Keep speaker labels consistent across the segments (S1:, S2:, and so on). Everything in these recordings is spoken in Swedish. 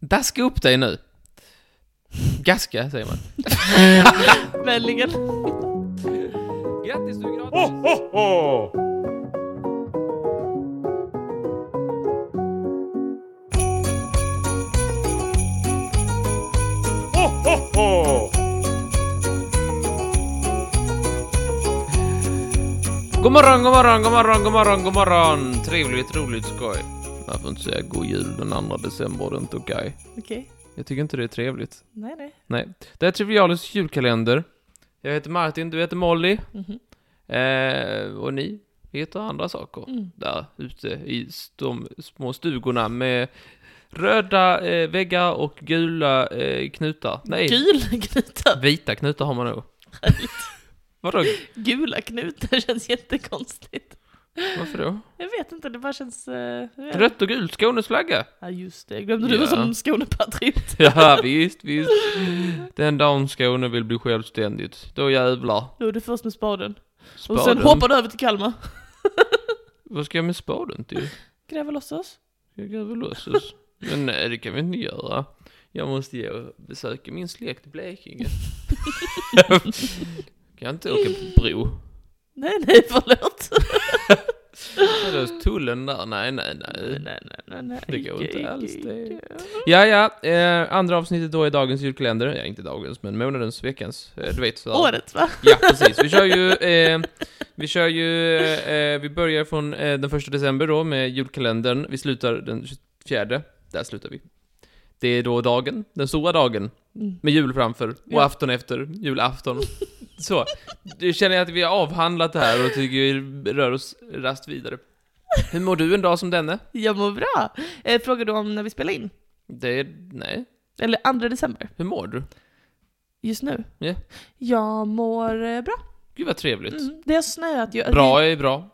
S1: Daska upp dig nu. Gaska, säger man.
S2: Möjligen.
S1: Grattis, du är gratis! God morgon, god morgon, god morgon, god morgon, god morgon! Trevligt, roligt, skoj. Varför inte säga god jul den 2 december, det är inte okej.
S2: Okej.
S1: Jag tycker inte det är trevligt.
S2: Nej, nej.
S1: Nej. Det är Trivialens julkalender. Jag heter Martin, du heter Molly.
S2: Mhm.
S1: Eh, och ni heter andra saker.
S2: Mm.
S1: Där ute i s- de små stugorna med röda eh, väggar och gula eh, knutar. Nej,
S2: Gula knutar.
S1: vita knutar har man nog. Vadå?
S2: Gula knutar känns jättekonstigt.
S1: Varför då?
S2: Jag vet inte, det bara känns... eh, jag vet
S1: Rött och gult, Skånes flagga.
S2: Ja just det, jag glömde du var
S1: Ja.
S2: som Skånepatriot.
S1: Ja, visst, visst. Den dagen Skåne vill bli självständigt, då jävlar.
S2: Då är du först med spaden.
S1: Spaden.
S2: Och sen hoppar du över till Kalmar.
S1: Vad ska jag med spaden till?
S2: Gräver loss oss.
S1: Jag gräver loss oss. Men nej, det kan vi inte göra. Jag måste ge och besöka min släkt i Blekinge. kan jag inte åka på bro?
S2: Nej nej förlåt.
S1: Seriöst, Tullen där, nej, nej,
S2: nej
S1: nej.
S2: nej nej. nej.
S1: Det går
S2: Icke,
S1: inte alls,
S2: icke,
S1: det-
S2: icke.
S1: Ja, ja, eh, andra avsnittet då i dagens julkalender. Ja, inte dagens, men månadens, veckans. Eh, du vet, så här.
S2: Året va?
S1: Ja, precis. Vi kör ju, eh, vi kör ju, eh, vi börjar från eh, den första december då med julkalendern. Vi slutar den 24, där slutar vi. Det är då dagen, den stora dagen,
S2: Mm.
S1: med jul framför och
S2: Ja.
S1: afton efter, julafton. Så, du känner jag att vi har avhandlat det här och tycker vi rör oss rast vidare. Hur mår du en dag som denne?
S2: Jag mår bra. Eh, frågar du om när vi spelar in?
S1: Det är, nej,
S2: Eller 2 december?
S1: hur mår du?
S2: Just nu?
S1: Ja.
S2: Jag mår eh, bra.
S1: Gud vad trevligt.
S2: Mm, det har snöat. Jag,
S1: Bra är bra.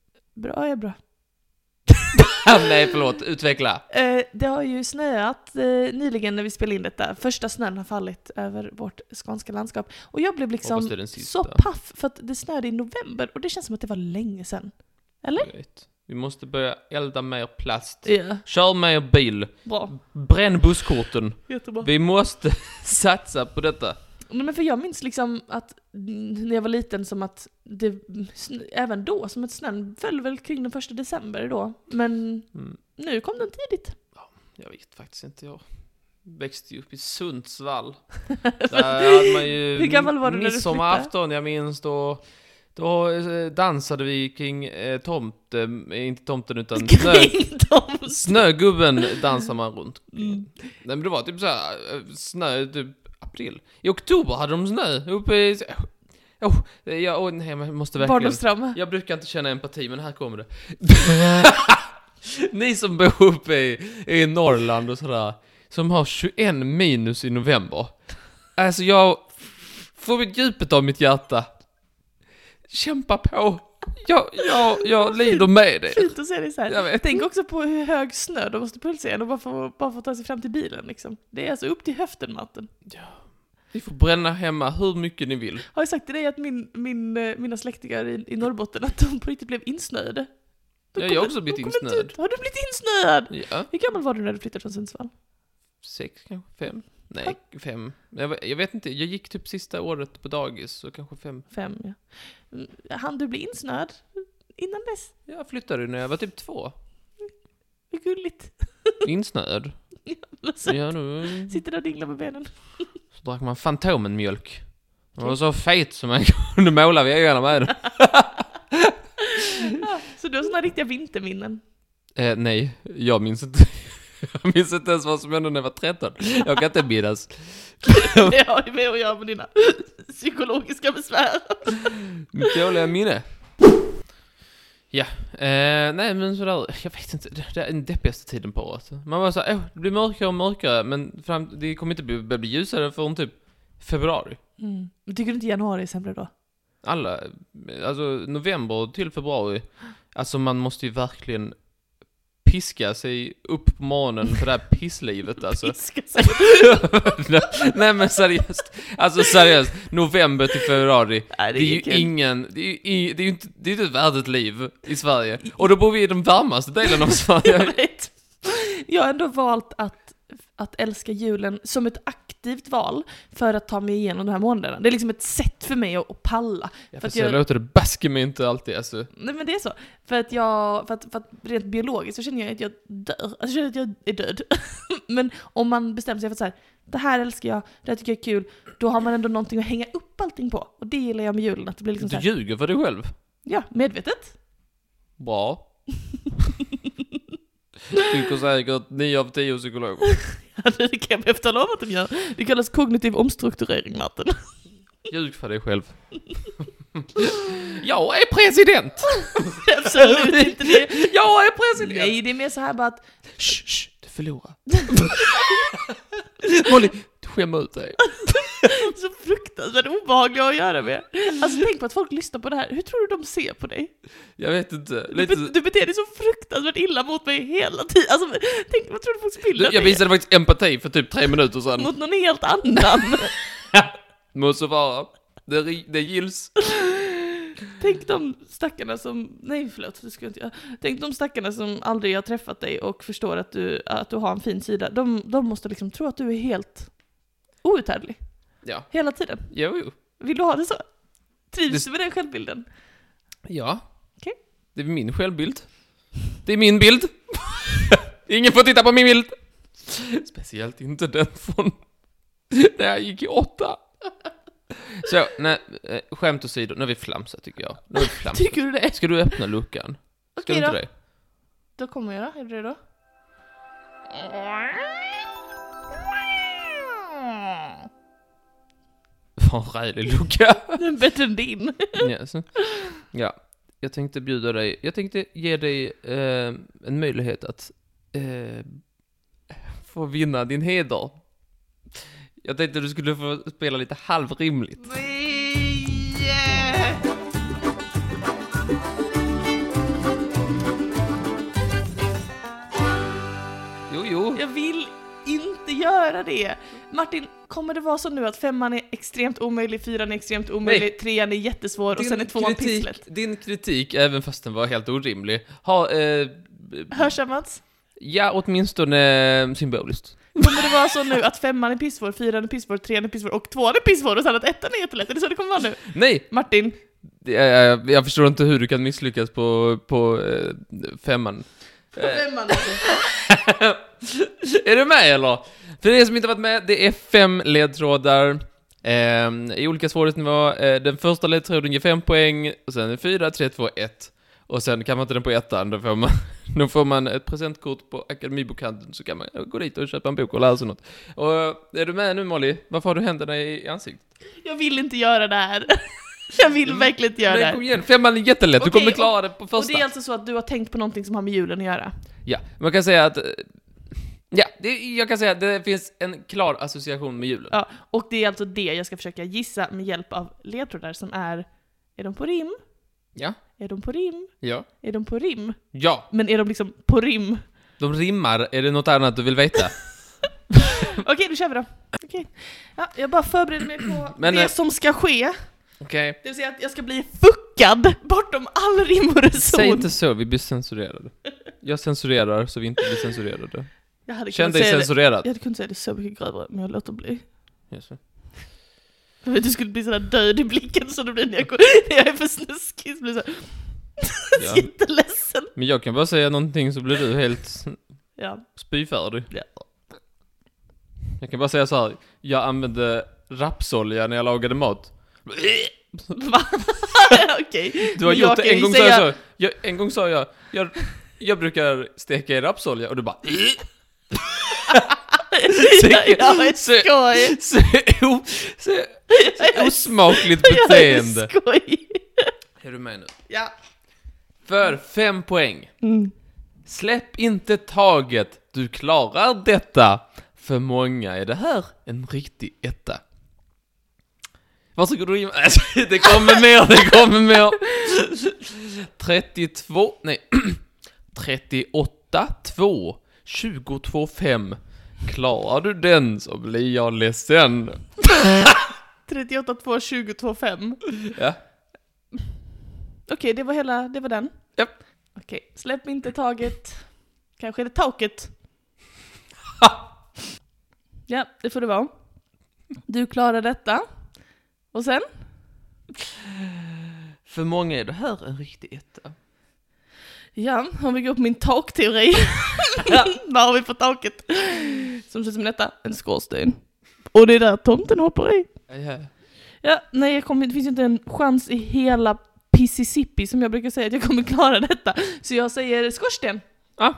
S2: Bra är bra.
S1: nej, förlåt, utveckla.
S2: Eh, det har ju snöat eh, nyligen när vi spelade in detta. Första snön har fallit över vårt skånska landskap. Och jag blev
S1: Hoppas det är
S2: liksom
S1: den
S2: så
S1: sista.
S2: paff för att det snöade i november och det känns som att det var länge sedan. Eller?
S1: Vet. Vi måste börja elda mer plast.
S2: Ja,
S1: Kör mer bil.
S2: bra.
S1: Bränn busskorten.
S2: Jättebra.
S1: Mm. Vi måste satsa på detta.
S2: Nej, men för jag minns liksom att mm, när jag var liten som att det, snö- även då, som att snön föll väl kring den första december då. Men
S1: Mm,
S2: nu kom den tidigt.
S1: jag vet faktiskt inte. Jag växte ju upp i Sundsvall. Där hade man ju
S2: Hur gammal var du när du
S1: midsommarafton, jag minns då. Då eh, dansade vi kring eh, tomten, eh, inte tomten utan snö,
S2: Kring dem.
S1: snögubben dansade man runt.
S2: Mm.
S1: Nej men det var typ såhär, eh, snö, typ april. I oktober hade de snö uppe i... Oh, jag, oh, nej, jag måste verkligen...
S2: Barndomstrauma.
S1: Jag brukar inte känna empati, men här kommer det. Ni som bor uppe i, i Norrland och sådär, som har 21 minus i november. Alltså jag, får djupet av mitt hjärta. Kämpa på. Jag, jag, jag lider med dig.
S2: Fint att se dig så här.
S1: Jag vet.
S2: Tänk också på hur hög snö de måste pulsa igenom bara för, bara för att ta sig fram till bilen liksom. Det är alltså upp till höften matten.
S1: Ni får bränna hemma hur mycket ni vill.
S2: Har jag sagt till dig att min, min, eh, mina släktingar i, i Norrbotten att de på riktigt blev insnöade? De
S1: Ja, jag
S2: kom
S1: har
S2: ut-
S1: också blivit
S2: de kom inte
S1: insnöad.
S2: ut. Har du blivit insnöad?
S1: Ja,
S2: Hur gammal var du när du flyttade från Sundsvall?
S1: sex kanske, fem? Nej, fem. Men Jag, jag vet inte, jag gick typ sista året på dagis, så kanske fem.
S2: Fem, ja. Mm, Hann du bli insnöad innan dess?
S1: Jag flyttade när jag var typ två.
S2: Vad gulligt.
S1: Insnöad.
S2: Så
S1: Ja, nu...
S2: Sitter där och dinglar med benen.
S1: Så drack man Fantomen-mjölk. Den var så fet som man kunde måla väggarna med den.
S2: Så du har såna riktiga vinterminnen.
S1: Eh, nej, jag minns inte. Jag minns inte ens vad som hände när jag var 13. Jag kan inte minnas.
S2: Det har ju med att göra med dina psykologiska besvär.
S1: Mitt dåliga minne. Ja, eh, nej men sådär, jag vet inte, det det är den deppigaste tiden på året. Man var såhär, åh, det blir mörkare och mörkare, men fram, det kommer inte bli, börja bli ljusare förrän typ februari.
S2: Mm. Men Tycker du inte januari är sämre då?
S1: Alla, alltså november till februari, alltså man måste ju verkligen piska sig upp på morgonen för det här pisslivet alltså.
S2: Piska sig.
S1: Nej men seriöst, alltså seriöst, november till februari,
S2: Nej,
S1: det är ju ingen, det är ju, i- det är ju inte, det är ju inte ett värdigt liv i Sverige. Och då bor vi i den varmaste delen av Sverige.
S2: Jag vet. Jag har ändå valt att att älska julen som ett aktivt val för att ta mig igenom de här månaderna. Det är liksom ett sätt för mig att, att palla.
S1: Ja,
S2: För
S1: för
S2: att
S1: så
S2: jag-
S1: låter det baske mig inte alltid alltså.
S2: Nej men det är så. För att jag, för att, för att rent biologiskt så känner jag att jag dör. Alltså jag känner att jag är död. men om man bestämmer sig för att så här, det här älskar jag, det här tycker jag är kul, då har man ändå någonting att hänga upp allting på. Och det gillar jag med julen, att det blir liksom så
S1: Du
S2: här,
S1: ljuger för dig själv.
S2: ja, medvetet.
S1: Bra. Tycker säkert 9 av 10 psykologer.
S2: Ja, Alltså, det kan jag behöva tala om att de gör. Det kallas kognitiv omstrukturering, Martin.
S1: Ljug för dig själv. Jag är president!
S2: Absolut inte det.
S1: Jag är president!
S2: Nej, det är mer så här bara att
S1: Shh, shh, du förlorar. Molly, skämma ut dig.
S2: så fruktansvärt obehagliga att göra med. Alltså tänk på att folk lyssnar på det här. Hur tror du de ser på dig?
S1: Jag vet inte.
S2: Du,
S1: Lite...
S2: be- du beter dig så fruktansvärt illa mot mig hela tiden. Alltså, tänk, vad tror du folk
S1: Du,
S2: spiller
S1: jag visade faktiskt empati för typ tre minuter sedan.
S2: mot någon helt annan?
S1: Må så vara. Det, ri- det gills.
S2: tänk de stackarna som, nej förlåt, det ska jag inte göra. Tänk de stackarna som aldrig har träffat dig och förstår att du, att du har en fin sida. De, de måste liksom tro att du är helt outhärdlig.
S1: Ja.
S2: Hela tiden.
S1: Jo, jo.
S2: Vill du ha det så? Trivs
S1: Det-
S2: du med den självbilden?
S1: Ja.
S2: Okej.
S1: Det är min självbild. Det är min bild. Ingen får titta på min bild. Speciellt inte den från när jag gick i åtta. Så, nej, eh, skämt åsido, nu har vi flamsat tycker jag. Nu har vi flamsat.
S2: Tycker du det?
S1: Ska du öppna luckan? Ska
S2: Okej
S1: du inte
S2: då.
S1: det?
S2: Då kommer jag då. Är du redo?
S1: Fan, rälig lucka.
S2: Den är bättre än din.
S1: Ja, så. ja, jag tänkte bjuda dig, jag tänkte ge dig eh, en möjlighet att eh, få vinna din heder. Jag tänkte du skulle få spela lite halvrimligt.
S2: Nej!
S1: Jo, jo.
S2: Jag vill inte göra det. Martin, kommer det vara så nu att femman är extremt omöjlig, fyran är extremt omöjlig, trean är jättesvår och sen är tvåan
S1: kritik,
S2: pisslet?
S1: din kritik, även fast den var helt orimlig, har, eh,
S2: Hörsammats?
S1: ja, åtminstone eh, symboliskt.
S2: Kommer det vara så nu att femman är pissvår, fyran är pissvår, trean är pissvår och tvåan är pissvår och sen att ettan är jättelätt? Är det så det kommer vara nu?
S1: Nej,
S2: Martin,
S1: det- eh, jag, jag förstår inte hur du kan misslyckas på, på eh, femman. Eh.
S2: femman alltså.
S1: Är du med eller? För er som inte varit med, det är fem ledtrådar eh, i olika svårighetsnivåer. Eh, den första ledtråden ger fem poäng, och sen är det fyra, tre, två, ett. Och sen kan man inte den på ettan, då får man, då får man ett presentkort på Akademibokhandeln, så kan man gå dit och köpa en bok och lära sig något. Och eh, är du med nu Molly? Varför har du händerna i i ansiktet?
S2: Jag vill inte göra det här. Jag vill verkligen inte göra det
S1: Men
S2: här.
S1: kom igen, femman är jättelätt, du
S2: Okej,
S1: kommer klara det på
S2: Och
S1: första.
S2: det är alltså så att du har tänkt på någonting som har med julen att göra?
S1: Ja, man kan säga att... eh, Ja, det, jag kan säga att det finns en klar association med julen.
S2: Ja, och det är alltså det jag ska försöka gissa med hjälp av ledtrådar som är, är de på rim?
S1: Ja.
S2: Är de på rim?
S1: Ja.
S2: Är de på rim?
S1: Ja.
S2: Men är de liksom på rim?
S1: De rimmar, är det något annat du vill veta?
S2: Okej, då kör vi då. Okej. Ja, jag bara förbereder mig på
S1: Men,
S2: det
S1: eh,
S2: som ska ske.
S1: Okej.
S2: Det vill säga att jag ska bli fuckad bortom all rim och reson.
S1: Säg inte så, vi blir censurerade. Jag censurerar så vi inte blir censurerade.
S2: Jag hade
S1: Känn
S2: kunnat
S1: dig
S2: säga det.
S1: censurerad.
S2: Jag hade kunnat säga det så mycket grövre, men jag låter bli.
S1: Yes.
S2: Jag vet, du skulle bli sådär död i blicken som du blir när jag, går, när jag är för snuskig. Så blir jag såhär,
S1: Ja.
S2: jätteledsen.
S1: Men jag kan bara säga någonting så blir du helt
S2: Ja.
S1: spyfärdig.
S2: Ja.
S1: Jag kan bara säga så här. jag använde rapsolja när jag lagade mat.
S2: Va? Okej.
S1: Du har
S2: Men
S1: gjort
S2: jag
S1: det
S2: kan
S1: en
S2: ju
S1: gång sa jag
S2: säga-
S1: så, jag, en gång sa jag, jag, jag brukar steka i rapsolja och du bara
S2: Jag har ett
S1: Se-
S2: skoj.
S1: så, o- så, så osmakligt
S2: Jag har
S1: beteende.
S2: ett skoj.
S1: Är du med nu?
S2: Ja.
S1: För fem poäng.
S2: Mm.
S1: Släpp inte taget, du klarar detta. För många är det här en riktig etta. Varsågod och rim. Alltså, Det kommer mer, det kommer mer. 32, nej. 38, 2, 22, 5. Klarar du den så blir jag ledsen.
S2: 38, 2, 20, 2, 5.
S1: Ja.
S2: Okej, det var hela, det var den.
S1: Japp.
S2: Okej, släpp inte taget. Kanske är det taket. Ja, det får det vara. Du klarar detta. Och sen?
S1: För många är det här en riktig etta.
S2: Ja, om vi går på min takteori. Vad har vi på taket? Som ser ut som detta, en skorsten. Och det är där tomten hoppar i.
S1: Ja.
S2: Ja, nej, jag kommer, det finns inte en chans i hela Pississippi som jag brukar säga att jag kommer klara detta. Så jag säger skorsten.
S1: Ah,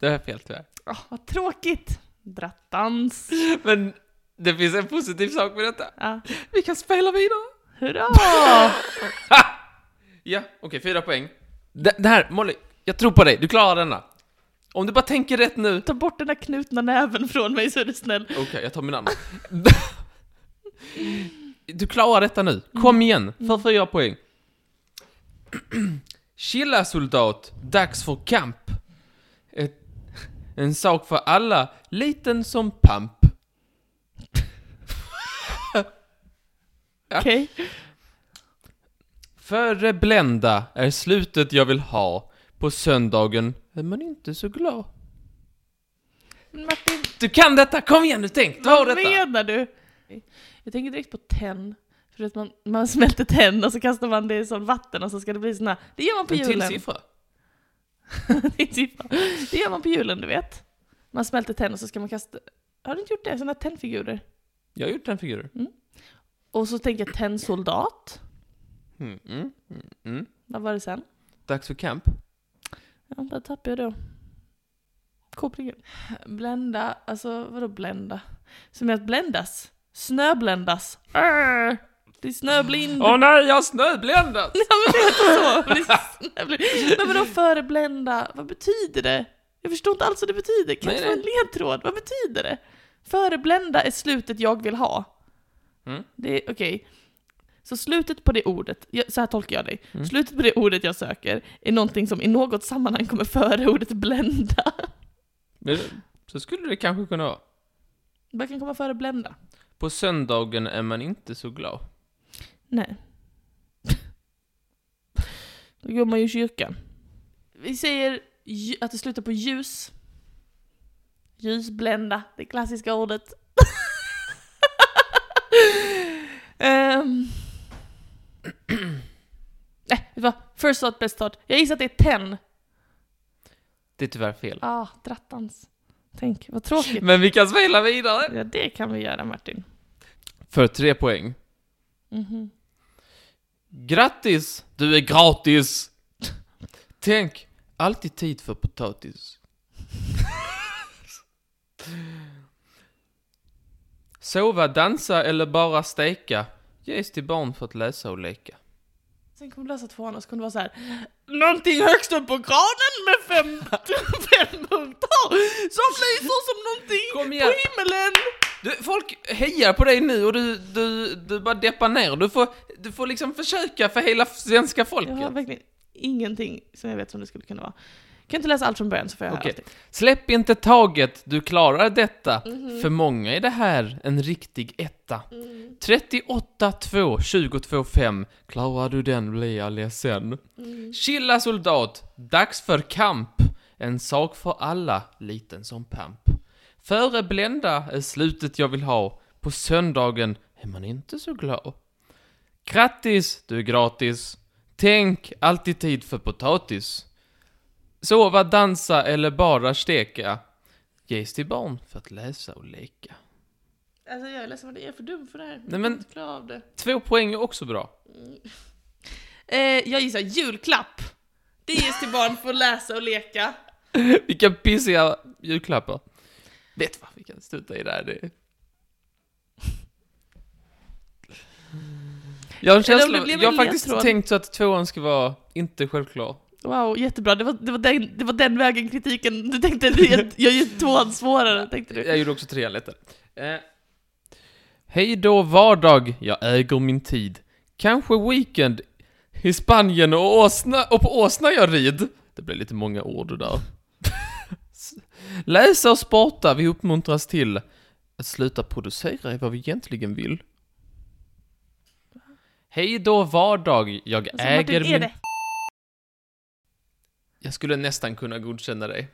S1: det är fel tyvärr.
S2: Ah, vad tråkigt. Drattans.
S1: Men det finns en positiv sak med detta.
S2: Ja,
S1: Vi kan spela vidare.
S2: hurra!
S1: Ja, okej, fyra poäng. Det, det här, Molly, jag tror på dig. Du klarar denna. Om du bara tänker rätt nu.
S2: Ta bort den där knutna näven från mig så är du snäll.
S1: Okej, jag tar min andra. Du klarar detta nu. Kom igen, för fyra poäng. Chilla soldat, dags för kamp. Ett, en sak för alla, liten som pamp. Ja.
S2: Okej?
S1: Före blända är slutet jag vill ha. På söndagen är man inte så glad.
S2: Men Martin,
S1: Du kan detta, kom igen nu, tänk! Du har
S2: vad
S1: detta!
S2: menar du? Jag tänker direkt på tenn. För att man, man smälter tenn och så kastar man det i sån vatten och så ska det bli såna... Det gör man på
S1: En till
S2: julen.
S1: siffra.
S2: det, är typ, det gör man på julen, du vet. Man smälter tenn och så ska man kasta... Har du inte gjort det? Såna tennfigurer.
S1: Jag har gjort den figuren.
S2: Och så tänker jag tennsoldat.
S1: Mm, mm, mm, mm.
S2: Vad var det sen?
S1: Dags för kamp.
S2: Ja, där tappade jag då. Kopplingen. Blända, alltså vadå blända? Som är att bländas. Snöbländas. Arr! Det är snöblind.
S1: Åh nej, jag har snöbländat!
S2: Ja men det heter så. Det är snöblind. Men vadå föreblända? Vad betyder det? Jag förstår inte alls vad det betyder. Kan
S1: Nej,
S2: jag få en ledtråd? Vad betyder det? Föreblända är slutet jag vill ha.
S1: Mm.
S2: Det är okej. Så slutet på det ordet, jag- så här tolkar jag dig.
S1: Mm.
S2: Slutet på det ordet jag söker är någonting som i något sammanhang kommer före ordet blända.
S1: Men, så skulle det kanske kunna vara.
S2: Vad kan komma före blända?
S1: På söndagen är man inte så glad.
S2: Nej. Då går man ju i kyrkan. Vi säger lj- att det slutar på ljus. Ljusblända, det klassiska ordet. Ehm. Nej, vet du vad? First thought, best thought. Jag gissar att det är ten.
S1: Det är tyvärr fel.
S2: Ah, drattans. Tänk, vad tråkigt.
S1: Men vi kan spela vidare!
S2: Ja, det kan vi göra Martin.
S1: För tre poäng.
S2: Mhm.
S1: Grattis! Du är gratis! Tänk, alltid tid för potatis. Sova, dansa eller bara steka ges till barn för att läsa och leka.
S2: Sen kommer du läsa tvåan och så kommer det vara så här. Någonting högst upp på granen med fem, fem punkter som lyser som någonting
S1: Kom igen.
S2: på himmelen!
S1: Du, folk hejar på dig nu och du, du, du bara deppar ner. Du får, du får liksom försöka för hela svenska
S2: Jag
S1: folket.
S2: har verkligen ingenting som jag vet som det skulle kunna vara. Jag kan inte läsa allt från början så får jag höra
S1: Okej.
S2: allting.
S1: Släpp inte taget, du klarar detta.
S2: Mhm.
S1: För många är det här en riktig etta.
S2: Mm.
S1: 38 2 22 5 Klarar du den blir jag ledsen.
S2: Mm.
S1: Chilla soldat, dags för kamp. En sak för alla, liten som pamp. Före blända är slutet jag vill ha. På söndagen är man inte så glad. Grattis, du är gratis. Tänk, alltid tid för potatis. Sova, dansa eller bara steka. Ges till barn för att läsa och leka.
S2: Alltså jag är ledsen men jag är för dum för det här. Jag
S1: men-
S2: kan inte klara av det.
S1: Två poäng är också bra.
S2: Eh, jag gissar julklapp. Det ges till barn för att läsa och leka.
S1: Vilka pissiga julklappar. Vet du vad, vi kan sluta i det här. Det... Jag har en
S2: Eller om
S1: känsla,
S2: det blev
S1: jag har
S2: en
S1: faktiskt
S2: ledtråd.
S1: tänkt så att tvåan ska vara inte självklar.
S2: Wow, jättebra. Det var, det var, den, det var den vägen kritiken. Du tänkte jag, jag gör tvåan svårare, tänkte du.
S1: Jag gjorde också trean lättare. Eh. Hej då vardag, jag äger min tid. Kanske weekend i Spanien och, åsna, och på åsna jag rid. Det blev lite många ord där. Läsa och sporta, vi uppmuntras till. Att sluta producera är vad vi egentligen vill. Hej då vardag, jag
S2: Alltså,
S1: äger
S2: Martin,
S1: min...
S2: är det
S1: Jag skulle nästan kunna godkänna dig.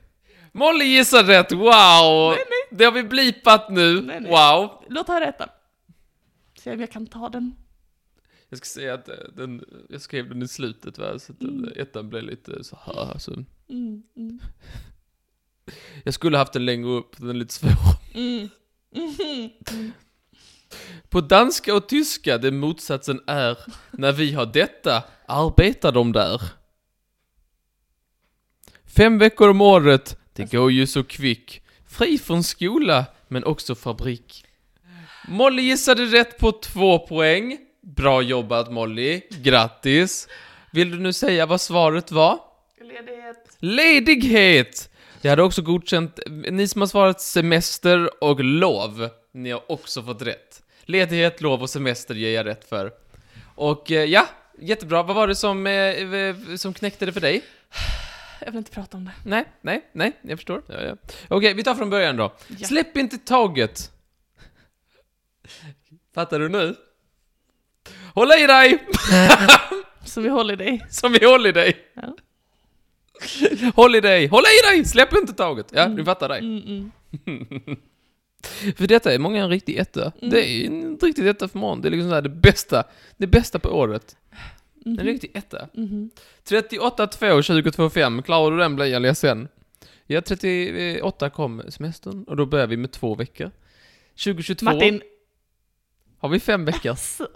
S1: Molly gissar rätt, wow!
S2: Nej, nej.
S1: Det har vi blipat nu.
S2: Nej, nej.
S1: Wow.
S2: Låt höra ettan. Se om jag kan ta den.
S1: Jag ska säga att eh, den, jag skrev den i slutet va, så att den,
S2: Mm.
S1: ettan blev lite så här. Alltså.
S2: Mm, mm,
S1: Jag skulle haft den längre upp, den är lite svår.
S2: mm, mhm, mm.
S1: På danska och tyska, det motsatsen är, när vi har detta, arbetar de där. Fem veckor om året, det går ju så kvick. Fri från skola, men också fabrik. Molly gissade rätt på två poäng. Bra jobbat Molly, grattis. Vill du nu säga vad svaret var?
S2: Ledighet.
S1: Ledighet! Jag hade också godkänt, ni som har svarat semester och lov, ni har också fått rätt. Ledighet, lov och semester ger jag rätt för. Och eh, ja, jättebra. Vad var det som, eh, eh, som knäckte det för dig?
S2: Jag vill inte prata om det.
S1: Nej, nej, nej, jag förstår. Ja, ja. Okej, vi tar från början då.
S2: Ja.
S1: Släpp inte taget! Fattar du nu? Håll i dig!
S2: Så vi håller dig.
S1: Som vi håller i dig!
S2: Ja.
S1: Håll i dig! Håll i dig! Släpp inte taget! Ja,
S2: Mm.
S1: du fattar dig.
S2: Mm, mm.
S1: För detta är många en riktig etta. Det är en riktig etta för morgon. Det är liksom så här det bästa, det bästa på året. En
S2: Mhm,
S1: riktig etta.
S2: mhm.
S1: 38-2-2025, klarar du den blir jag ledsen. Ja, 38 kom semestern och då börjar vi med två veckor. 2022
S2: Martin,
S1: har vi fem veckor.
S2: alltså,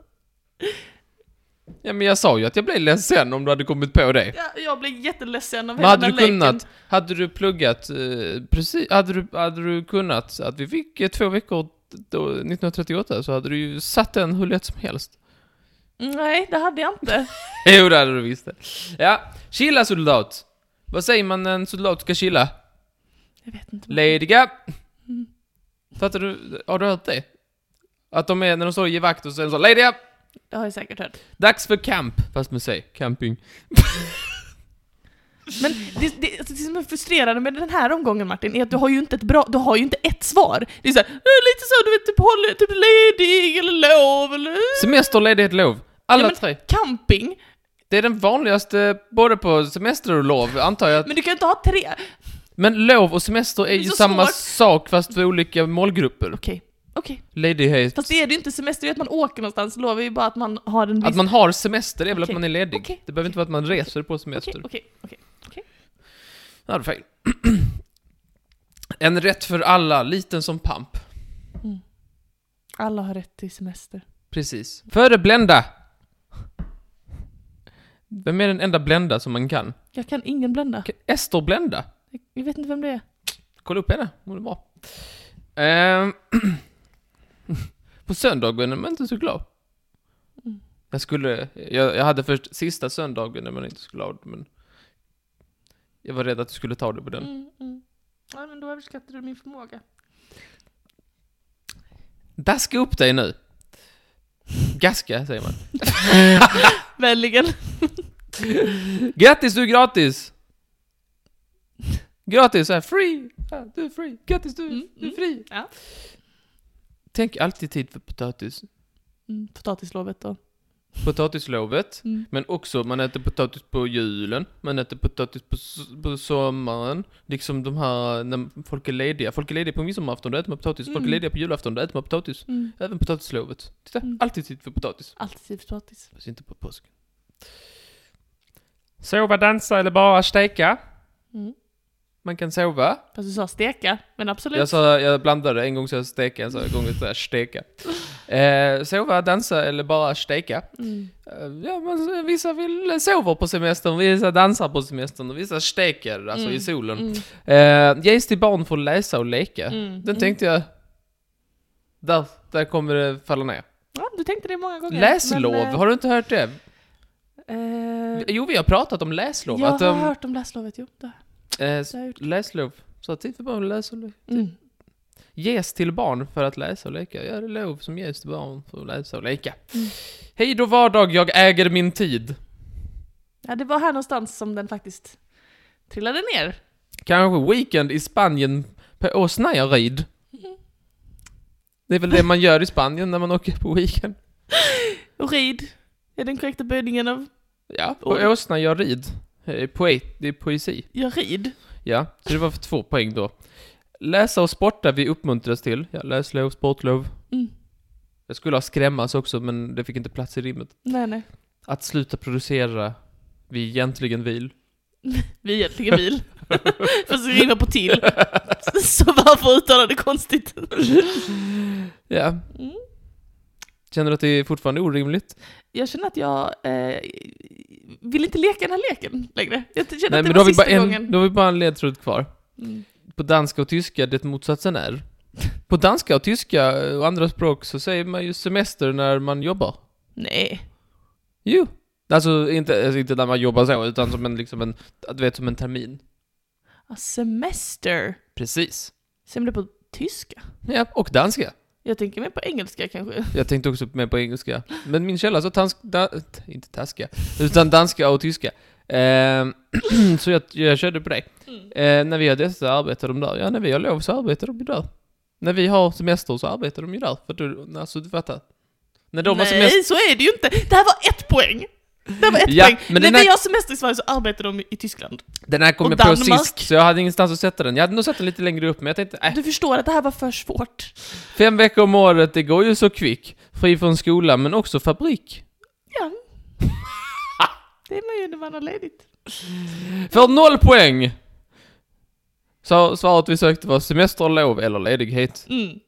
S1: Ja, men jag sa ju att jag blev ledsen om du hade kommit på det.
S2: jag, jag blir jätteledsen av
S1: Men hade
S2: den
S1: du
S2: här
S1: kunnat,
S2: leken.
S1: hade du pluggat, eh, precis, hade du, hade du kunnat så att vi fick eh, två veckor då, 1938 så hade du ju satt den hur lätt som helst.
S2: Mm, Nej, det hade jag inte.
S1: Jo, det hade du visst det. Ja, chilla soldat. Vad säger man när en soldat ska chilla?
S2: Jag vet inte.
S1: Lediga. Fattar du? Har du hört det? Att de är, när de står och ger vakt och sen så lediga.
S2: Det har jag säkert hört.
S1: Dags för camp. Fast med sig, camping.
S2: Men det, det, alltså det som är frustrerande med den här omgången Martin, är att du har ju inte ett bra, du har ju inte ett svar. Det är så här, "Eh, lite så, du vet, typ, håll, typ ledig eller lov eller...
S1: Semester, ledighet, lov. Alla
S2: Ja, men-
S1: tre.
S2: Camping?
S1: Det är den vanligaste, både på semester och lov, antar jag.
S2: Men du kan ju inte ha tre.
S1: Men lov och semester är
S2: är
S1: ju
S2: så
S1: samma
S2: svårt.
S1: sak fast för olika målgrupper.
S2: Okej, okej.
S1: Ledighet.
S2: Fast det är det ju inte, semester är att man åker någonstans, lov är ju bara att man har en
S1: Att
S2: viss...
S1: man har semester är väl
S2: Okej.
S1: att man är ledig.
S2: Okej.
S1: Det behöver inte vara att man reser på semester.
S2: Okej, okej, okej.
S1: Ja, det är fel. en rätt för alla, liten som pamp.
S2: Alla har rätt till semester.
S1: Precis. Före Blenda. Vem är den enda Blenda som man kan?
S2: Jag kan ingen blända.
S1: K- Ester Blenda.
S2: Jag vet inte vem det är.
S1: Kolla upp henne, hon är bra. Ehm, på söndagen är man inte så glad.
S2: Mm.
S1: Jag skulle, jag, jag hade först sista söndagen när man inte så glad, men jag var rädd att du skulle ta det på den.
S2: Mm, mm. Ja, men då överskattar du min förmåga.
S1: Daska upp dig nu. Gaska, säger man.
S2: Vänligen.
S1: Grattis, du är gratis! Gratis, så här, free! Ja, du är free. Grattis, du,
S2: Mm,
S1: du är
S2: mm.
S1: fri!
S2: Ja.
S1: Tänk alltid tid för potatis.
S2: Mm, potatislovet då.
S1: Potatislovet,
S2: Mm.
S1: men också man äter potatis på julen, man äter potatis på, s- på sommaren, liksom de här när folk är lediga. Folk är lediga på midsommarafton, då äter man potatis. Folk är
S2: Mm.
S1: lediga på julafton, då äter man potatis.
S2: Mm.
S1: Även potatislovet. Titta,
S2: Mm.
S1: alltid tid för potatis.
S2: Alltid potatis.
S1: Fast inte på påsken. Sova, dansa eller bara steka.
S2: Mm.
S1: Man kan sova.
S2: Fast du sa steka, men absolut.
S1: Jag sa, jag blandade, en gång sa jag steka, en gång sa jag steka. Eh, sova, dansa eller bara steka.
S2: Mm.
S1: Eh, ja, men vissa vill sova på semestern, vissa dansar på semestern och vissa steker, alltså
S2: Mm,
S1: i solen.
S2: Mm.
S1: Eh, ges till barn för att läsa och leka.
S2: Mm.
S1: Den tänkte jag, där, där kommer det falla ner.
S2: Ja, du tänkte det många gånger.
S1: Läslov,
S2: men, eh,
S1: har du inte hört det?
S2: eh,
S1: Jo, vi har pratat om läslov.
S2: jag
S1: att, ehm-
S2: har
S1: de-
S2: hört om läslovet, jo. Det har
S1: eh,
S2: det har jag gjort.
S1: läslov, så att tid för barn att läsa och leka.
S2: Mm.
S1: Ges till barn för att läsa och leka. Ja, det är lov som ges till barn för att läsa och leka.
S2: Mm.
S1: Hej då vardag, jag äger min tid.
S2: Ja, det var här någonstans som den faktiskt trillade ner.
S1: Kanske weekend i Spanien på åsnajarid. Det är väl det man gör i Spanien när man åker på weekend.
S2: Och rid är den korrekta böjningen av
S1: Ja, på
S2: Oj.
S1: åsnajarid. Eh, Poet, det är poesi.
S2: jag rid.
S1: Ja, så det var för två poäng då. Läsa och sporta vi uppmuntras till. Ja, läslov, sportlov.
S2: Mm.
S1: Jag skulle ha skrämmas också, men det fick inte plats i rimmet.
S2: Nej, nej.
S1: Att sluta producera vi egentligen vill.
S2: Vi är egentligen bil. Fast vi rimmar på till. Så varför uttala det konstigt?
S1: Ja.
S2: Mm.
S1: Känner du att det är fortfarande orimligt?
S2: Jag känner att jag eh, vill inte leka den här leken längre. Jag känner
S1: Nej,
S2: att det
S1: men
S2: var
S1: då har, vi
S2: sista
S1: bara en,
S2: gången.
S1: då har vi bara en ledtråd kvar.
S2: Mm.
S1: På danska och tyska, det motsatsen är. På danska och tyska och andra språk så säger man ju semester när man jobbar.
S2: Nej.
S1: Jo. Alltså inte, alltså, inte när man jobbar så, utan som en, liksom en, du vet, som en termin.
S2: Ah, Semester.
S1: Precis.
S2: Säger man det på tyska?
S1: Ja, och danska.
S2: Jag tänker mer på engelska kanske.
S1: Jag tänkte också med på engelska. Men min källa sa tansk, da, t- inte taska, utan danska och tyska. Ehm, så jag, jag körde på det.
S2: Mm.
S1: Eh, när vi har dessa så arbetar de där. Ja, när vi har lov så arbetar de ju där. När vi har semester så arbetar de ju där. För du, alltså du fattar. När de har
S2: Nej,
S1: semester...
S2: så är det ju inte. Det här var ett poäng. Det här var ett
S1: Ja,
S2: poäng.
S1: men
S2: När
S1: den här-
S2: vi har semester i Sverige så arbetar de i Tyskland.
S1: Den här kom
S2: Och
S1: jag på
S2: Danmark.
S1: sist, så jag hade ingenstans att sätta den. Jag hade nog satt den lite längre upp, men jag tänkte, äh,
S2: Du förstår att det här var för svårt.
S1: fem veckor om året, det går ju så kvick. Fri från skola, men också fabrik.
S2: Ja. Det är man ju när man har ledigt.
S1: För noll poäng! Så svaret vi sökte var semesterlov eller ledighet.
S2: Mm.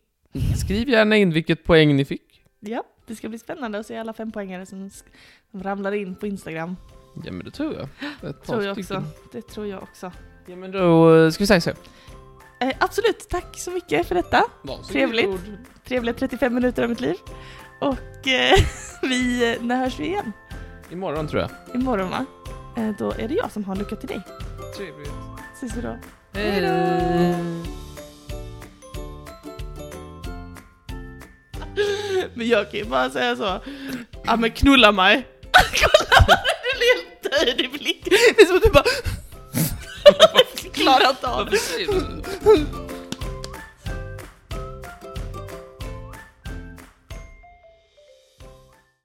S1: Skriv gärna in vilket poäng ni fick.
S2: Ja, det ska bli spännande att se alla fem poängare som, sk- som ramlar in på Instagram.
S1: Ja men det tror jag. Ett par
S2: Tror jag
S1: stycken.
S2: också. Det tror jag också.
S1: Ja men då eh, ska vi säga så.
S2: Eh, absolut, tack så mycket för detta. Trevligt. Trevliga 35 minuter av mitt liv. Och eh, vi, eh, när hörs vi igen?
S1: Imorgon tror jag.
S2: Imorgon va? Eh, då är det jag som har en lucka till dig.
S1: Trevligt.
S2: Ses vi då.
S1: Hej
S2: Hejdå.
S1: då!
S2: Men jag kan ju bara säga så. Ja men knulla mig. Kolla vad du blir helt död i blicken. Det är som att du bara... klarar inte av det.
S1: Varför säger du så?